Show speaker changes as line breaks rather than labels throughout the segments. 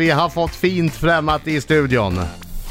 Vi har fått fint främmat i studion.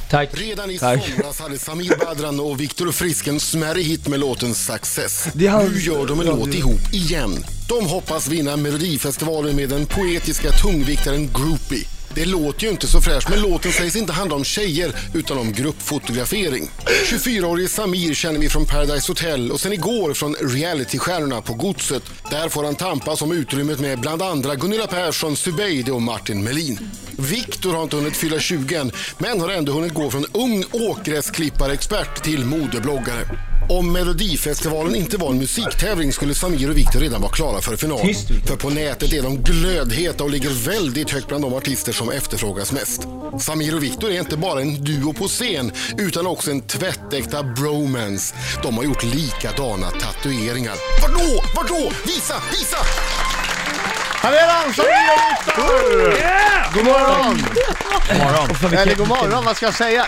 Tack.
Redan i
Tack.
somras hade Samir Badran och Viktor Frisk en smärre hit med låten Success.
Det är han-
Nu gör de en
Ja,
låt
det-
ihop igen. De hoppas vinna Melodifestivalen med den poetiska tungviktaren Groupie. Det låter ju inte så fräscht, men låten sägs inte handla om tjejer utan om gruppfotografering. 24-årige Samir känner vi från Paradise Hotel och sen igår från Realitystjärnorna på Godset. Där får han tampas om utrymmet med bland andra Gunilla Persson, Zubeide och Martin Melin. Viktor har inte hunnit fylla 20 än, men har ändå hunnit gå från ung åkgräsklipparexpert till modebloggare. Om Melodifestivalen inte var en musiktävling skulle Samir och Viktor redan vara klara för finalen.
Tyst, Viktor.
För på nätet är de glödheta och ligger väldigt högt bland de artister som efterfrågas mest. Samir och Viktor är inte bara en duo på scen utan också en tvättäkta bromance. De har gjort likadana tatueringar. Vadå? Vadå? Visa! Visa!
Här är han, Samir och Viktor! God morgon!
morgon.
Eller god morgon, vad ska jag säga?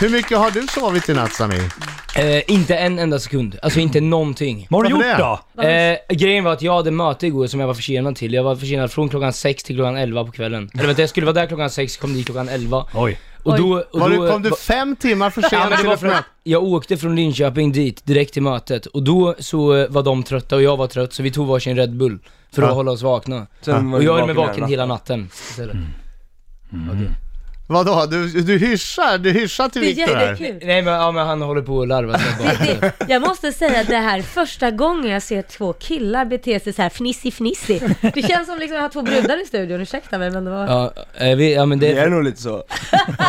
Hur mycket har du sovit i natt Samir?
Eh, inte en enda sekund, alltså inte någonting.
Vad har du
Varför
gjort
det?
då?
Eh, grejen var att jag hade möte igår som jag var försenad till. Jag var försenad från klockan 6 till klockan 11 på kvällen. Eller vänta, jag skulle vara där klockan 6, kom dit klockan 11.
Oj.
Och då... Och
Var
då
du, kom du
va-
fem timmar för
Ja, men
sent
det
till
var
ett
för att
möte?
jag åkte från Linköping dit, direkt till mötet. Och då så eh, var de trötta och jag var trött, så vi tog varsin Red Bull. För att
Ja.
hålla oss vakna.
Sen var
Och
du
jag höll mig vaken
hela
hela natten. istället.
Vadå? Du, du hyschar, du hyschar till
Det är
Viktor här.
jättekul.
Nej men, ja, men han håller på och larvar sig bara.
Det, jag måste säga att det här är första gången jag ser två killar bete sig så här fnissig fnissig. Det känns som liksom jag har två brudar i studion, ursäkta mig men det var
Ja, eh, vi, ja men det...
Det är nog lite så.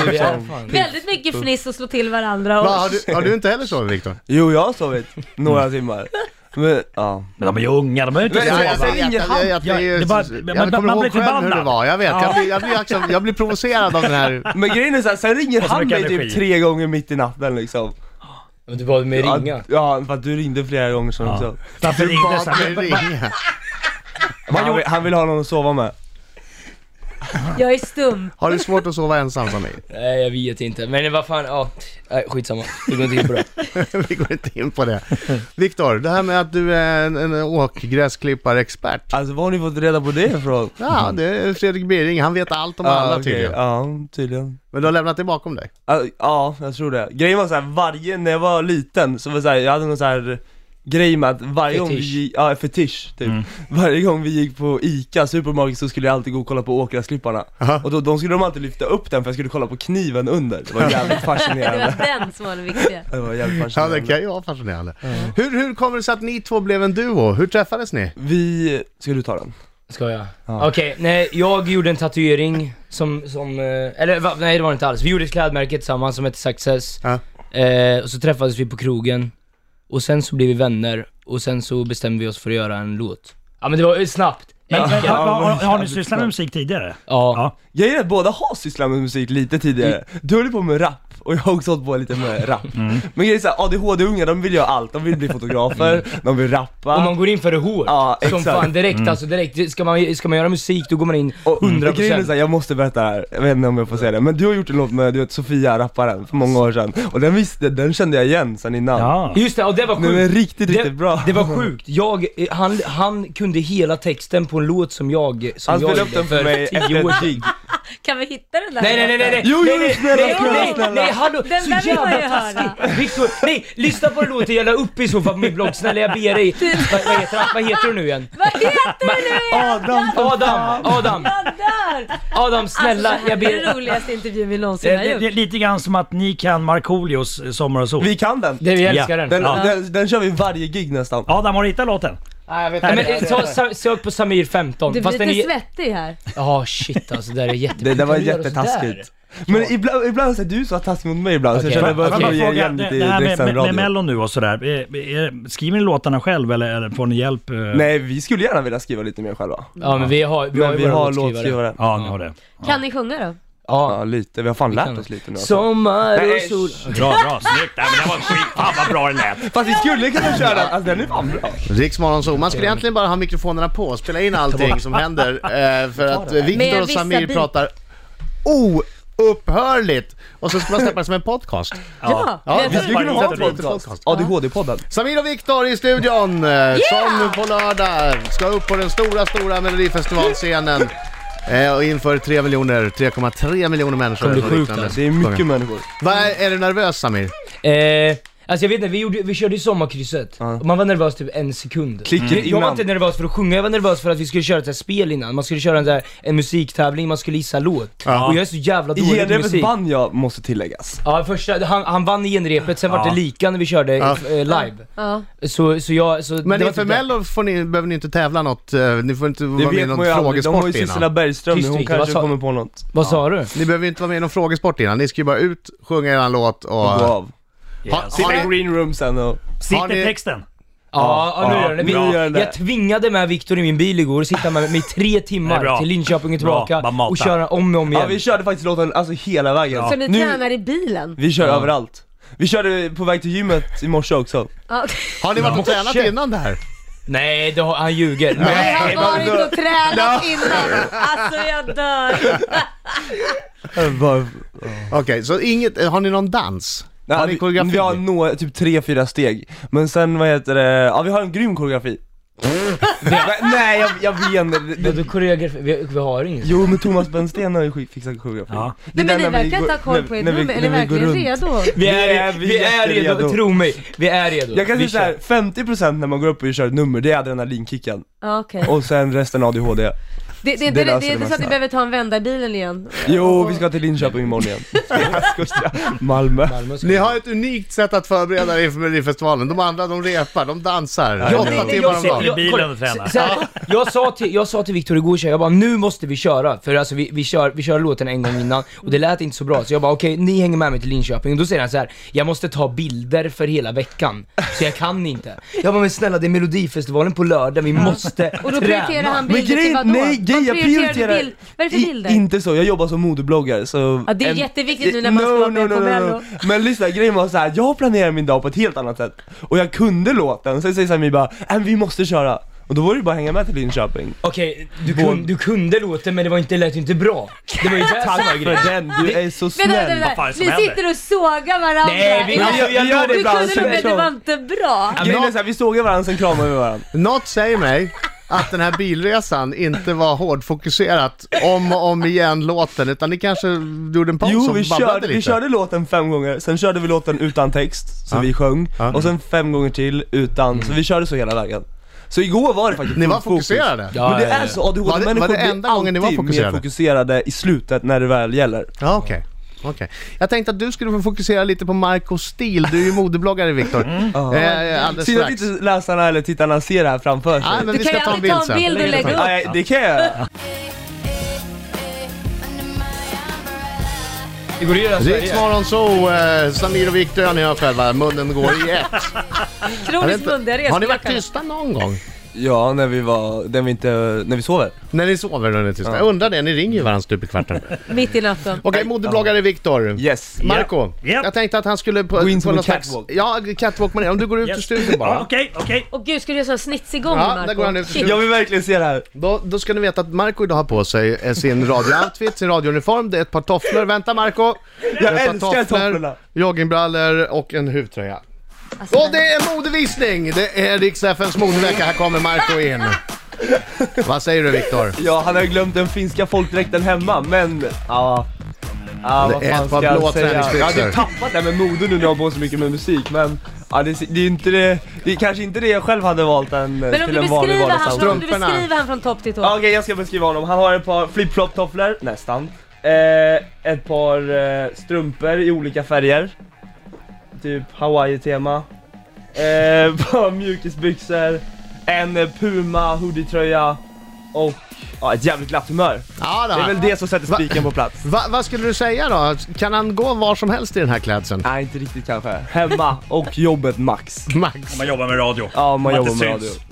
vi är fan.
väldigt mycket fniss och slå till varandra och...
Va, har, du, har du inte heller sovit Viktor?
Jo, jag har sovit några timmar. Men, ja.
Men de är ju unga, de är ju inte
Men-
Ja,
sova.
jag vet, jag-
Ingen hand.
jag- jag-
Ja, det bara-
jag-
man-
Jag
man
kommer
blir
ihåg själv hur det
förbannad.
var, jag vet. Jag
Ja.
blir, jag blir, också, jag blir provocerad av den här...
Men grejen är såhär, sen ringer
så
han
mycket
mig
energi.
typ tre gånger mitt i natten liksom.
Men du bad mig ringa.
Ja, ja, för att du ringde flera gånger sen också.
Varför ringde så här?
Varför ringa?
Men Han, vill- han vill ha någon att sova med.
Jag är stum.
Har du svårt att sova ensam Samir?
Nej jag vet inte, men vad fan, ja. Nej, skitsamma, det går inte in på det.
Vi går inte in på det. Viktor, det här med att du är en, en åkgräsklipparexpert.
Alltså var har ni fått reda på det ifrån?
Ja, det är Fredrik Bering. Han vet allt om alla
okej.
tydligen.
Ja, tydligen.
Men du har lämnat det bakom dig.
Alltså, ja, jag tror det. Grejen var såhär, varje, när jag var liten så var det såhär, jag hade någon såhär grej med att varje gång vi
Fetisch.
gick, ja fetisch typ. Varje gång vi gick på ICA supermarket så skulle jag alltid gå och kolla på åkgräsklipparna.
Aha.
Och då, de skulle de alltid lyfta upp den för jag skulle kolla på kniven under. Det var jävligt
Det
fascinerande.
var den som var den viktiga.
Det var jävligt
Ja, det
fascinerande.
kan ju vara fascinerande. Mm. Hur, hur kommer det sig att ni två blev en duo? Hur träffades ni?
Vi, ska du ta den?
Ska jag?
Ja.
Okej, nej jag gjorde en tatuering som, som eh, eller va, nej det var det inte alls. Vi gjorde ett klädmärke tillsammans som hette Success.
Ja.
Eh, och så träffades vi på krogen, och sen så blev vi vänner, och sen så bestämde vi oss för att göra en låt. Ja men det var ju snabbt.
Men, men,
Ja,
har, har,
men-
har ni sysslat med musik tidigare?
Ja.
Jag är att båda har sysslat med musik lite tidigare. Du höll på med rap och jag har också hållit på lite med rap. Men grejen är såhär, ADHD-ungar de vill göra allt. De vill bli fotografer, de vill rappa.
Om man går in för det hårt,
Ja,
som
exakt. Mm.
fan direkt alltså direkt, ska man, ska man göra musik då går man in
Och
100%
grejen är såhär, jag måste berätta det här, jag vet inte om jag får säga det, men du har gjort en låt med du vet, Sofia, rapparen, för många år sedan Och den visste, den kände jag igen sen innan
Ja.
Just det, och det var sjukt.
Den är riktigt,
det,
riktigt bra
Det var sjukt. Jag, eh, han, han kunde hela texten på en låt som jag, som
Han
jag
spelade upp den för mig efter ett gig
Kan vi hitta den där?
Nej nej nej nej nej!
Jo, jo,
nej, nej,
snälla,
nej,
snälla,
nej,
snälla.
nej, hallå!
Den där
så
vill man ju
jävla
höra.
taskigt! Victor, nej! Lyssna på den låten jag la upp i så fall på min blogg, snälla jag ber dig! Vad, vad, heter, han? vad heter du nu igen?
Vad heter du nu igen?
Adam!
Adam! Adam!
Jag dör!
Adam snälla
alltså,
jag
det här är
ber
den roligaste intervjun vi någonsin
Det,
har
det, det är
gjort.
lite grann som att ni kan Markoolios eh, Sommar och sol.
Vi kan den!
Det vi älskar
Ja,
Den,
den. Ja.
den, den kör vi varje gig nästan
Adam, har du hittat låten?
Nej, men, eh, ta, sa- sök på Samir 15.
Du
fast
blir
den
lite
är...
svettig här.
Ja shit alltså det där är jätte...
Det, det var
Kan du göra sådär?
jättetaskigt Men ibland, ibland så är du så taskig mot mig ibland så jag
Okej.
känner
Men
jag bara
bara
att ge
fråga,
igen
det,
lite
det här med, med,
direktsänd
med
radio
Mellon nu och sådär. Är, är, skriver ni låtarna själv eller, eller får ni hjälp? eh?
Nej, vi skulle gärna vilja skriva lite mer själva
Ja men vi har, vi har,
Men
ju
vi
våra
har
låtskrivare.
låtskrivare
Ja, ni har det.
Kan ni sjunga då?
Ja, lite, vi har fan lärt
kan.
oss lite nu alltså.
Sommar och
Nej,
sol.
Bra, bra, snyggt. Nej, men det var skit. Fan vad bra det lät.
Fast vi skulle kunna köra den, alltså den är fan bra
Riksmorgon så. Man skulle egentligen bara ha mikrofonerna på och spela in allting som händer. eh, För att Viktor
Med
och
vissa
Samir
bit.
pratar oupphörligt. Och så ska man släppa det som en podcast.
Ja!
Ja,
jag
Vi
tror-
skulle kunna ha en
Varje
podcast, ADHD-podden
Samir och Viktor i studion eh, som på lördag ska upp på den stora, stora Melodifestivalscenen. Eh, och inför 3 miljoner, 3,3 miljoner människor.
Kommer bli
eller något
sjukt,
liknande.
Det är mycket människor.
Vad är, är du nervös Samir?
Eh, alltså jag vet inte, vi, gjorde, vi körde ju sommarkrysset.
Ja.
Och Man var nervös typ en sekund. Mm.
Klicket
Jag- Jag var
innan.
inte nervös för att sjunga, jag var nervös för att vi skulle köra ett så här spel innan. Man skulle köra en, så här, en musiktävling, man skulle gissa låt.
Ja.
Och jag är så jävla
I
dålig på
genrepet
musik.
vann jag, måste tilläggas.
Ja, första, han, han vann i genrepet, sen var det lika när vi körde
Ja.
eh, live.
Ja.
Så, så jag, så
Men
det var
inför
typ det.
mello får ni, behöver ni inte tävla något, eh, ni får inte vara med i någon
de har ju
frågesport
Sissela
innan.
Bergström nu,
Tyst,
hon
Victor, vad
kanske
sa-
kommer på något.
Vad sa du?
Ni behöver ju inte vara med i någon frågesport innan, ni ska ju bara ut, sjunga eran låt och...
Gå av.
Ha,
Sitta i
har ni,
green room sen och...
Har
Sitter
ni-
texten?
Ja, ja, nu gör den det.
bra.
Vi-
Gör den det.
Jag tvingade med Viktor i min bil igår och sitta med mig i tre
Det är
timmar
bra.
till Linköping och
Bra,
tillbaka
bara mata.
och köra om och om
Ja
igen.
vi körde faktiskt låten alltså hela vägen.
Så ni
Nu,
tränar i bilen?
vi kör överallt. Vi körde på väg till gymmet i morse också.
Ja.
har ni varit och tränat
Shit.
innan det här?
Nej, det har, han ljuger.
Nej, han
vad
har
då?
inte tränat innan. Alltså jag dör.
Okej, så inget, har ni någon dans? har ni
vi-
koreografi?
Vi har några, typ tre, fyra steg. Men sen vad heter det, ja vi har en grym koreografi. Nej, Nej jag, jag vet inte. Det-
Men
det-
du koreografer, vi, vi har ingen.
Jo men Thomas Bensten har ju sk- fixat koreografin.
Ja.
Det
Nej, men
är
ni
där när vi
verkar inte
går-
ha koll
när-
på ert
när vi-
nummer. Är
när
ni
vi går
verkligen
runt.
redo?
Vi
är-
är,
vi
vi,
är
är redo.
jätteredo.
tro mig. Vi är redo.
Jag kan
vi
säga såhär,
kör.
50% när man går upp och kör ett nummer, det är adrenalinkicken.
Ja, okej.
Och sen resten ADHD.
Det, det, det,
det
det,
löser
det är
det
inte så att ni
mesta.
behöver ta en vända i bilen igen?
Jo, vi ska till Linköping imorgon igen. Malmö.
Malmö ska-
Ni har ett unikt sätt att förbereda er inför Melodifestivalen. De andra, de repar, de dansar.
Ja,
Åtta
det- det-
timmar om
sitter i
dagen.
bilen
kolla,
och tränar.
så- så här, jag sa till, jag sa till Victor igår tjej, jag bara nu måste vi köra. För alltså vi, vi, kör, vi kör låten en gång innan och det lät inte så bra. Så jag bara okej, ni hänger med mig till Linköping. Och då säger han så här, jag måste ta bilder för hela veckan. Så jag kan inte. Jag bara men snälla det är melodifestivalen på lördag, vi måste
Och då prioriterar
träna.
han bilder till typ vadå?
nej grejen, jag
Vad prioriterar du
prioriterar...
bild- Vad är det för
i-
bilder?
Inte så, jag jobbar som modebloggare så...
Ja, det är jätteviktigt nu när man ska vara med på Mello.
Men lyssna, grejen var såhär, jag planerade min dag på ett helt annat sätt. Och jag kunde låten, sen säger Samir bara "Äh, men vi måste köra. Och då var det ju bara att hänga med till Linköping.
Okej, du, kun, du kunde låten men det var inte, lät ju inte bra. Det var ju det som
Tack
var grejen.
för den, du är så
Vänta, vänta,
snäll.
vänta.
fan är det som
Ni
händer?
sitter och sågar varandra.
Nej, vi-
Ja.
vi- vi-
jag gör det
du
ibland,
kunde
så
det, men det
jag-
var inte bra.
Grejen är såhär, vi sågar varandra, sen kramar vi varandra.
Något säger mig att den här bilresan inte var hårdfokuserat om och om igen låten, utan ni kanske gjorde en paus
Jo,
och
vi
babblade
körde,
lite.
vi körde låten fem gånger, sen körde vi låten utan text, så
Ja.
vi sjöng,
Ja.
och sen fem gånger till utan, så vi körde så hela vägen. Så igår var det faktiskt
Ni var
fullt fokus.
fokuserade?
Ja,
Men det
ja,
är
ja.
så,
Var det- var
ADHD-människor
det
blir
enda gången ni var
alltid mer
fokuserade?
fokuserade i slutet när det väl gäller.
Ja, okej. Okej. Jag tänkte att du skulle få fokusera lite på Marco Stil. Du är ju modebloggare Viktor. Eh,
Mm.
alldeles
Synd att
strax.
inte läsarna eller tittarna ser det här framför sig.
Nej, men
Du
vi
kan ju
ska ta en
alltid
bild
ta en
sen.
bild och lägga upp.
Nej, det kan jag göra.
Det går att göra
Riks
Sverige.
Morgonzoo, eh, Samir och Viktor hör ni hör själva. Munnen går i ett. Jag vet
Kroniskt
inte-
mundiga resor.
Har ni varit tysta någon gång?
Ja, när vi var, när vi inte, när vi sover.
När ni sover och ni är tysta? Jag undrar det, ni ringer ju varandra stup i kvarten. Okej,
Mitt i natten.
modebloggare Viktor.
Yes.
Marco,
Ja.
jag tänkte att han skulle på,
Gå in
på
som en
någon slags-
catwalk.
Ja, catwalk men om du går ut ur
Yes.
studion
Ja,
bara.
Okej, okej.
Och gud, ska du göra sån snitsig-gång
Ja,
Marco?
där går han ut.
Shit.
Jag vill verkligen se det här.
Då, då ska ni veta att Marco idag har på sig eh, sin radiooutfit, sin radiouniform, det är ett par tofflor. Vänta Marco!
Jag
Ett par
älskar tofflorna.
Joggingbrallor och en huvtröja.
Alltså,
Och det är modevisning! Det är riks FNs modevecka, här kommer Marco in. Vad säger du Viktor?
Ja, han har ju glömt den finska folkdräkten hemma, men ja... Ja, vad
Det är
fan
ett par
ska
blå
jag säga? Jag
träningsbyxor.
hade tappat det här med mode nu när jag har på så mycket med musik, men... Ja, det, det är inte det... Det är kanske inte det jag själv hade valt en,
Men
eh,
om
till
du,
en vanlig
beskriver han,
vardagssamling.
från, om du
Strumporna.
beskriver han från topp till tå.
Ja, Okej, jag ska beskriva honom. Han har ett par flip-flop-tofflor, nästan. Eh, ett par eh, strumpor i olika färger. Typ hawaii-tema. Eh, ett par mjukisbyxor. En eh, Puma hoodie-tröja. Och ja, ett jävligt glatt humör.
Ja, då.
Det är väl det som sätter
Va?
spiken på plats.
Va, vad skulle du säga då? Kan han gå var som helst i den här klädseln?
Nej, inte riktigt kanske. Hemma och jobbet max.
Max.
Om man jobbar med radio.
Ja, om man
Man
jobbar
inte
med radio.
syns.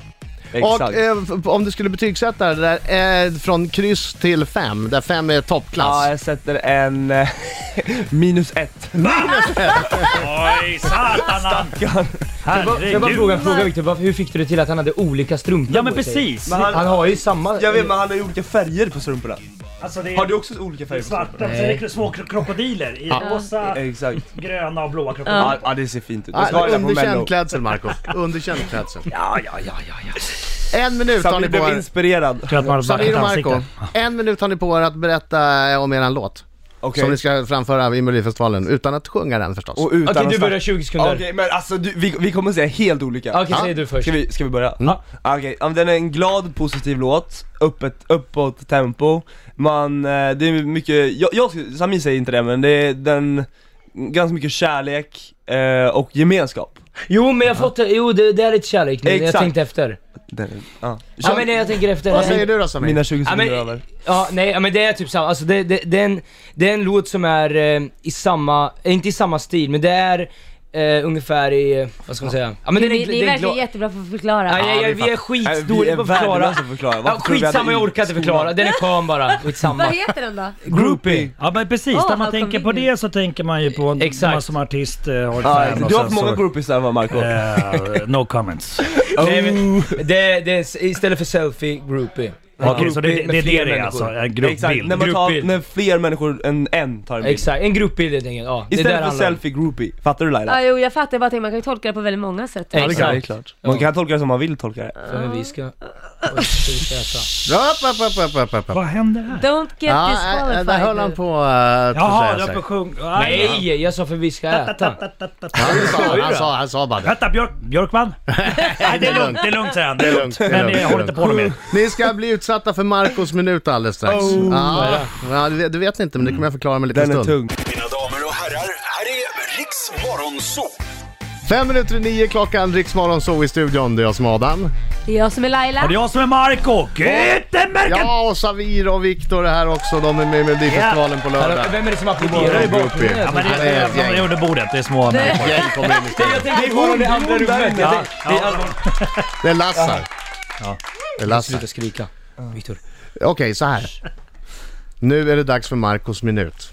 Exakt.
Och eh, f- om du skulle betygsätta det där, eh, från kryss till fem, där fem är
ja,
toppklass.
jag sätter en eh, minus ett.
Oj, satanan!
Får Jag bara
Herregud.
fråga, fråga Victor, varför, hur fick du det till att han hade olika strumpor
Ja men
på sig?
precis.
Men han,
Han har ju samma...
jag vet, men han har ju olika färger på strumporna.
Alltså, det är-
Har du också olika färger på strumporna?
Svarta, så är det små kro- krokodiler i rosa,
Exakt.
gröna och blåa krokodiler.
Ja, ja, det ser fint ut. Det
Ah,
ska jag på Mello.
underkänd klädsel Marco. Underkänd klädsel.
Ja, ja, ja, ja, ja.
En minut har
Samir
ni på
blev
er.
inspirerad.
tror att man har ett
Samir
vackert
och Marco,
ansikte.
en minut har ni på er att berätta eh, om eran låt.
Okej.
Som ni ska framföra i Melodifestivalen, utan att sjunga den förstås.
Och utan
Okej,
att
du börjar
snacka-
20
Okej,
sekunder. Okej,
men alltså du, vi, vi kommer säga helt olika.
säg du först.
Ska vi, ska vi börja?
Mm.
Ja. Ah, Okej, ja, men den är en glad, positiv låt, öppet, uppåt tempo, man, eh, det är mycket, jag, jag, Sami säger inte det men det är den, ganska mycket kärlek eh, och gemenskap
Jo men jag har fått det, jo det, det är lite kärlek nu, jag
Exakt.
tänkte efter.
den, ja.
Ja men det jag tänker efter.
Vad säger du då Samir?
Mina 20
Ja,
sekunder
men-
är över
Ja, nej, ja, men det är typ samma, alltså det, det, det, är en, det är en låt som är eh, i samma, eh, inte i samma stil, men det är eh, ungefär i, eh, vad ska man säga? Ja men
Ni,
den är,
ni,
den
är
är
verkligen
glad-
jättebra på att förklara.
Ja, jag,
det är
jag, vi är
fan- Nej,
skitdåliga på att förklara.
Eh, värdelösa på att förklara,
Ja,
Varför tror du vi hade
skitsamma, jag orkar inte
skolan?
förklara. Den är skön bara,
Vad
skitsamma.
heter den då?
Groupie!
Ja men precis,
Åh,
när man
how
tänker på
convenient.
det så tänker man ju på
Exakt.
Exakt. man som artist eh, har ett
Ja,
fan och
du
sen
har haft många
så-
groupies där va Marco?
Eh, no comments.
Nej, men
Oh.
det, det är s- istället för selfie, groupie.
Okej, så det,
groupie
det,
med
det är
fler
det det är
människor.
alltså? En
Exakt,
gruppbild?
när, man tar,
Gruppbild.
när fler människor än en tar en bild
Exakt, en gruppbild helt enkelt. Ja, det är där
Istället
det
för
handlar om.
selfie groupie, fattar du Laila?
Ja, jo, jag fattar bara att man kan ju tolka det på väldigt många sätt.
Exakt.
Ja, det är klart. Man kan tolka det som man vill tolka det
Fan, men vi ska... Oj, shit, vi ska äta.
Upp, upp, upp, upp, upp, upp, upp.
Vad händer här?
Don't get
Ja, äh,
disqualified.
där höll han på eh, att
Jaha,
försäga
du höll på
sig.
att sjunga. Aj,
Nej, jag sa för vi ska äta.
Han sa, han sa, han sa bara det.
Vänta, Björk, Björkman? Nej, det är lugnt, det är lugnt säger han. Det är lugnt.
det är
Men
lugnt, det
eh,
är
håll inte
lugnt.
på honom mer.
Ni ska bli utsatta för Marcos minut alldeles strax. ja, ja, du vet- du vet inte, men det kommer jag förklara om en liten
Den är
stund.
tung
Mina damer och herrar, här är Riks Morgonzoo!
Fem minuter i nio klockan, Riksmorgon så i studion. Det är jag som är Adam.
Det är jag som är Laila.
Och det är jag som är Marco Gutenbergen!
Ja, och Savir och Viktor är här också. De är med i Melodifestivalen på lördag.
Hallå, Vem är det som applåderar i bakgrunden?
Ja, men det, det är från under bordet, det är små människor.
Gäng kommer in i studion.
Jag tänkte på det andra rummet. Jag
Ja,
tänkte-
ja,
Det är Lassar. Det är Lassar.
Sluta skrika, Viktor.
Okej, så här. Nu är det dags för Marcos minut.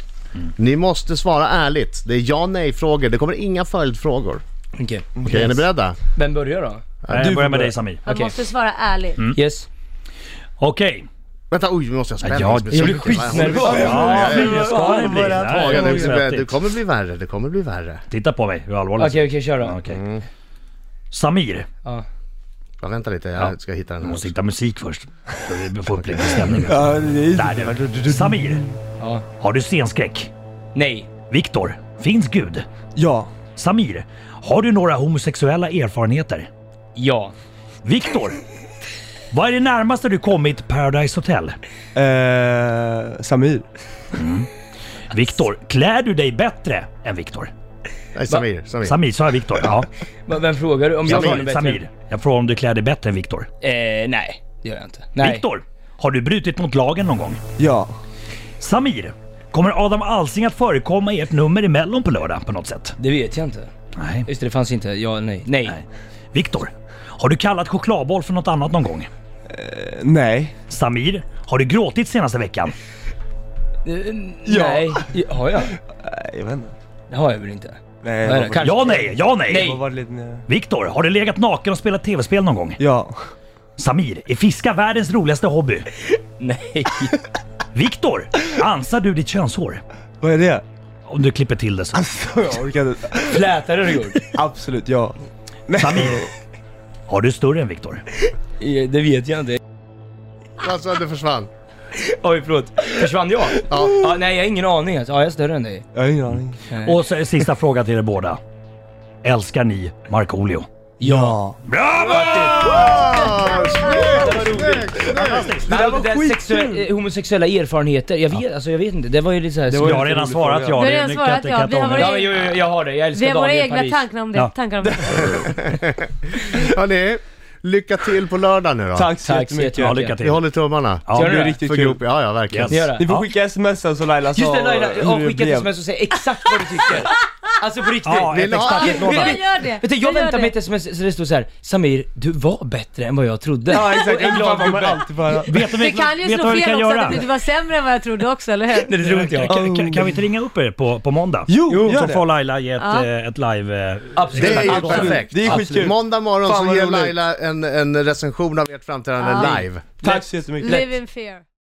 Ni måste svara ärligt. Det är ja nej-frågor. Det kommer inga följdfrågor. Okej,
Okej.
är ni beredda?
Vem börjar då?
jag börjar med dig Samir.
Man
Okej. Mm.
måste svara ärligt.
Yes.
Okej.
Vänta, oj, nu måste jag spänna
Ja,
mig speciellt.
jag
blir skitnervös.
Vad håller vi på med?
Ja, men det ska det bli.
Ja,
Nej,
ja,
det
det, det,
är
det
svettigt.
kommer bli värre, det kommer bli värre.
Titta på mig, hur allvarlig
Okej, okej, kör
Ja,
då.
okej. Samir,
Ja, vänta lite, jag ska hitta den
du
här.
måste
också.
hitta musik först. Så vi får upp lite stämning.
Ja, det är-
Där, det var- Samir,
Ja.
har du scenskräck?
Nej.
Viktor, finns Gud?
Ja,
Samir, har du några homosexuella erfarenheter?
Ja.
Viktor, vad är det närmaste du kommit Paradise Hotel?
eh, Samir
Viktor, klär du dig bättre än Viktor?
Nej, Samir, Samir.
Samir, sa jag Viktor? Ja.
V- Vem frågar du? Om jag var
Samir,
bättre?
Samir, jag frågar om du klär dig bättre än Viktor.
Eh, nej. Det gör jag inte. Nej.
Viktor, har du brutit mot lagen någon gång?
Ja,
Samir, kommer Adam Alsing att förekomma i ert nummer i Mellon på lördag på något sätt?
Det vet jag inte.
Nej.
Just det, det fanns inte. Ja eller nej. Nej.
Nej. Viktor, har du kallat chokladboll för något annat någon gång?
Eh, nej
Samir, har du gråtit senaste veckan?
Ja. Eh, Nej. Ja, Har jag?
Nej, Eh, jag vet inte
Det har jag väl inte?
Nej,
Vad är
jag
det?
var-
Kanske.
Ja, nej, ja, nej.
Nej.
jag var lite nere.
Viktor, har du legat naken och spelat tv-spel någon gång?
Ja,
Samir, är fiska världens roligaste hobby?
Nej.
Viktor, ansar du ditt könshår?
vad är det?
Om du klipper till det så.
Jag orkar inte
Flätar har du gjort?
Absolut, ja
Samir, har du större än Viktor?
Eh, Det vet jag inte.
Alltså, det försvann.
Oj förlåt. Försvann jag?
Ja.
Ja, nej jag har ingen aning alltså. Ja, jag är större än dig.
Jag har ingen aning
Och så, sista frågan till er båda. Älskar ni Markoolio?
Ja
Ah, snyggt, snyggt, snyggt.
Det
där var skitkul.
alltså, sexuella, eh, homosexuella erfarenheter, jag vet, alltså, jag vet inte. Det var ju lite såhär...
Det var
Jag
ju
har
en
redan
rolig
svarat ja.
fråga.
Du har
det kan
redan
jag
svarat
inte-
ja.
kan jag inte
Vi
ångra.
har varit-
Ja men jo, jo, jag har det. Jag
Vi
älskar
har våra
Daniel
egna
Paris.
tankar om det.
Ja.
Tankar om det.
Hörni, lycka till på lördag nu då.
Tack så
Tack så
jättemycket
Ja,
jättemycket.
lycka
Vi
till.
håller tummarna.
Ja,
Gör
Det
ni
är
det?
riktigt
För
kul
grupp, ja ja verkligen.
Yes.
Ska jag göra
Ni
det?
får skicka sms sen så Laila sa
Just det Laila, ja,
hur det
skicka ett
blev.
sms och säg exakt vad du tycker. Alltså på riktigt.
Ja,
Vill
ett
du ha-
extra
Jag
utlåtande.
gör det.
Vet du, jag
gör
väntade mig
det.
ett sms så det stod så här: Samir, du var bättre än vad jag trodde.
Ja exakt,
en glad
fan vad man
gubbe.
alltid får höra
Vet du
Det
vet
kan ju
du
slå
vad vi
fel
kan
också
göra?
att du var sämre än vad jag trodde också, eller hur?
Nej det tror inte jag.
Kan, kan, kan vi inte ringa upp er på, på måndag?
Jo,
så
gör
så
det.
får Laila ge ett,
Ja.
eh, ett live... eh,
Absolut.
Det är ju
Absolut.
perfekt.
Det är skitkul
Måndag morgon
Fan,
så
vad
ger
roligt.
Laila en, en recension av ert framträdande
Ja.
live.
Tack så jättemycket
Live in fear.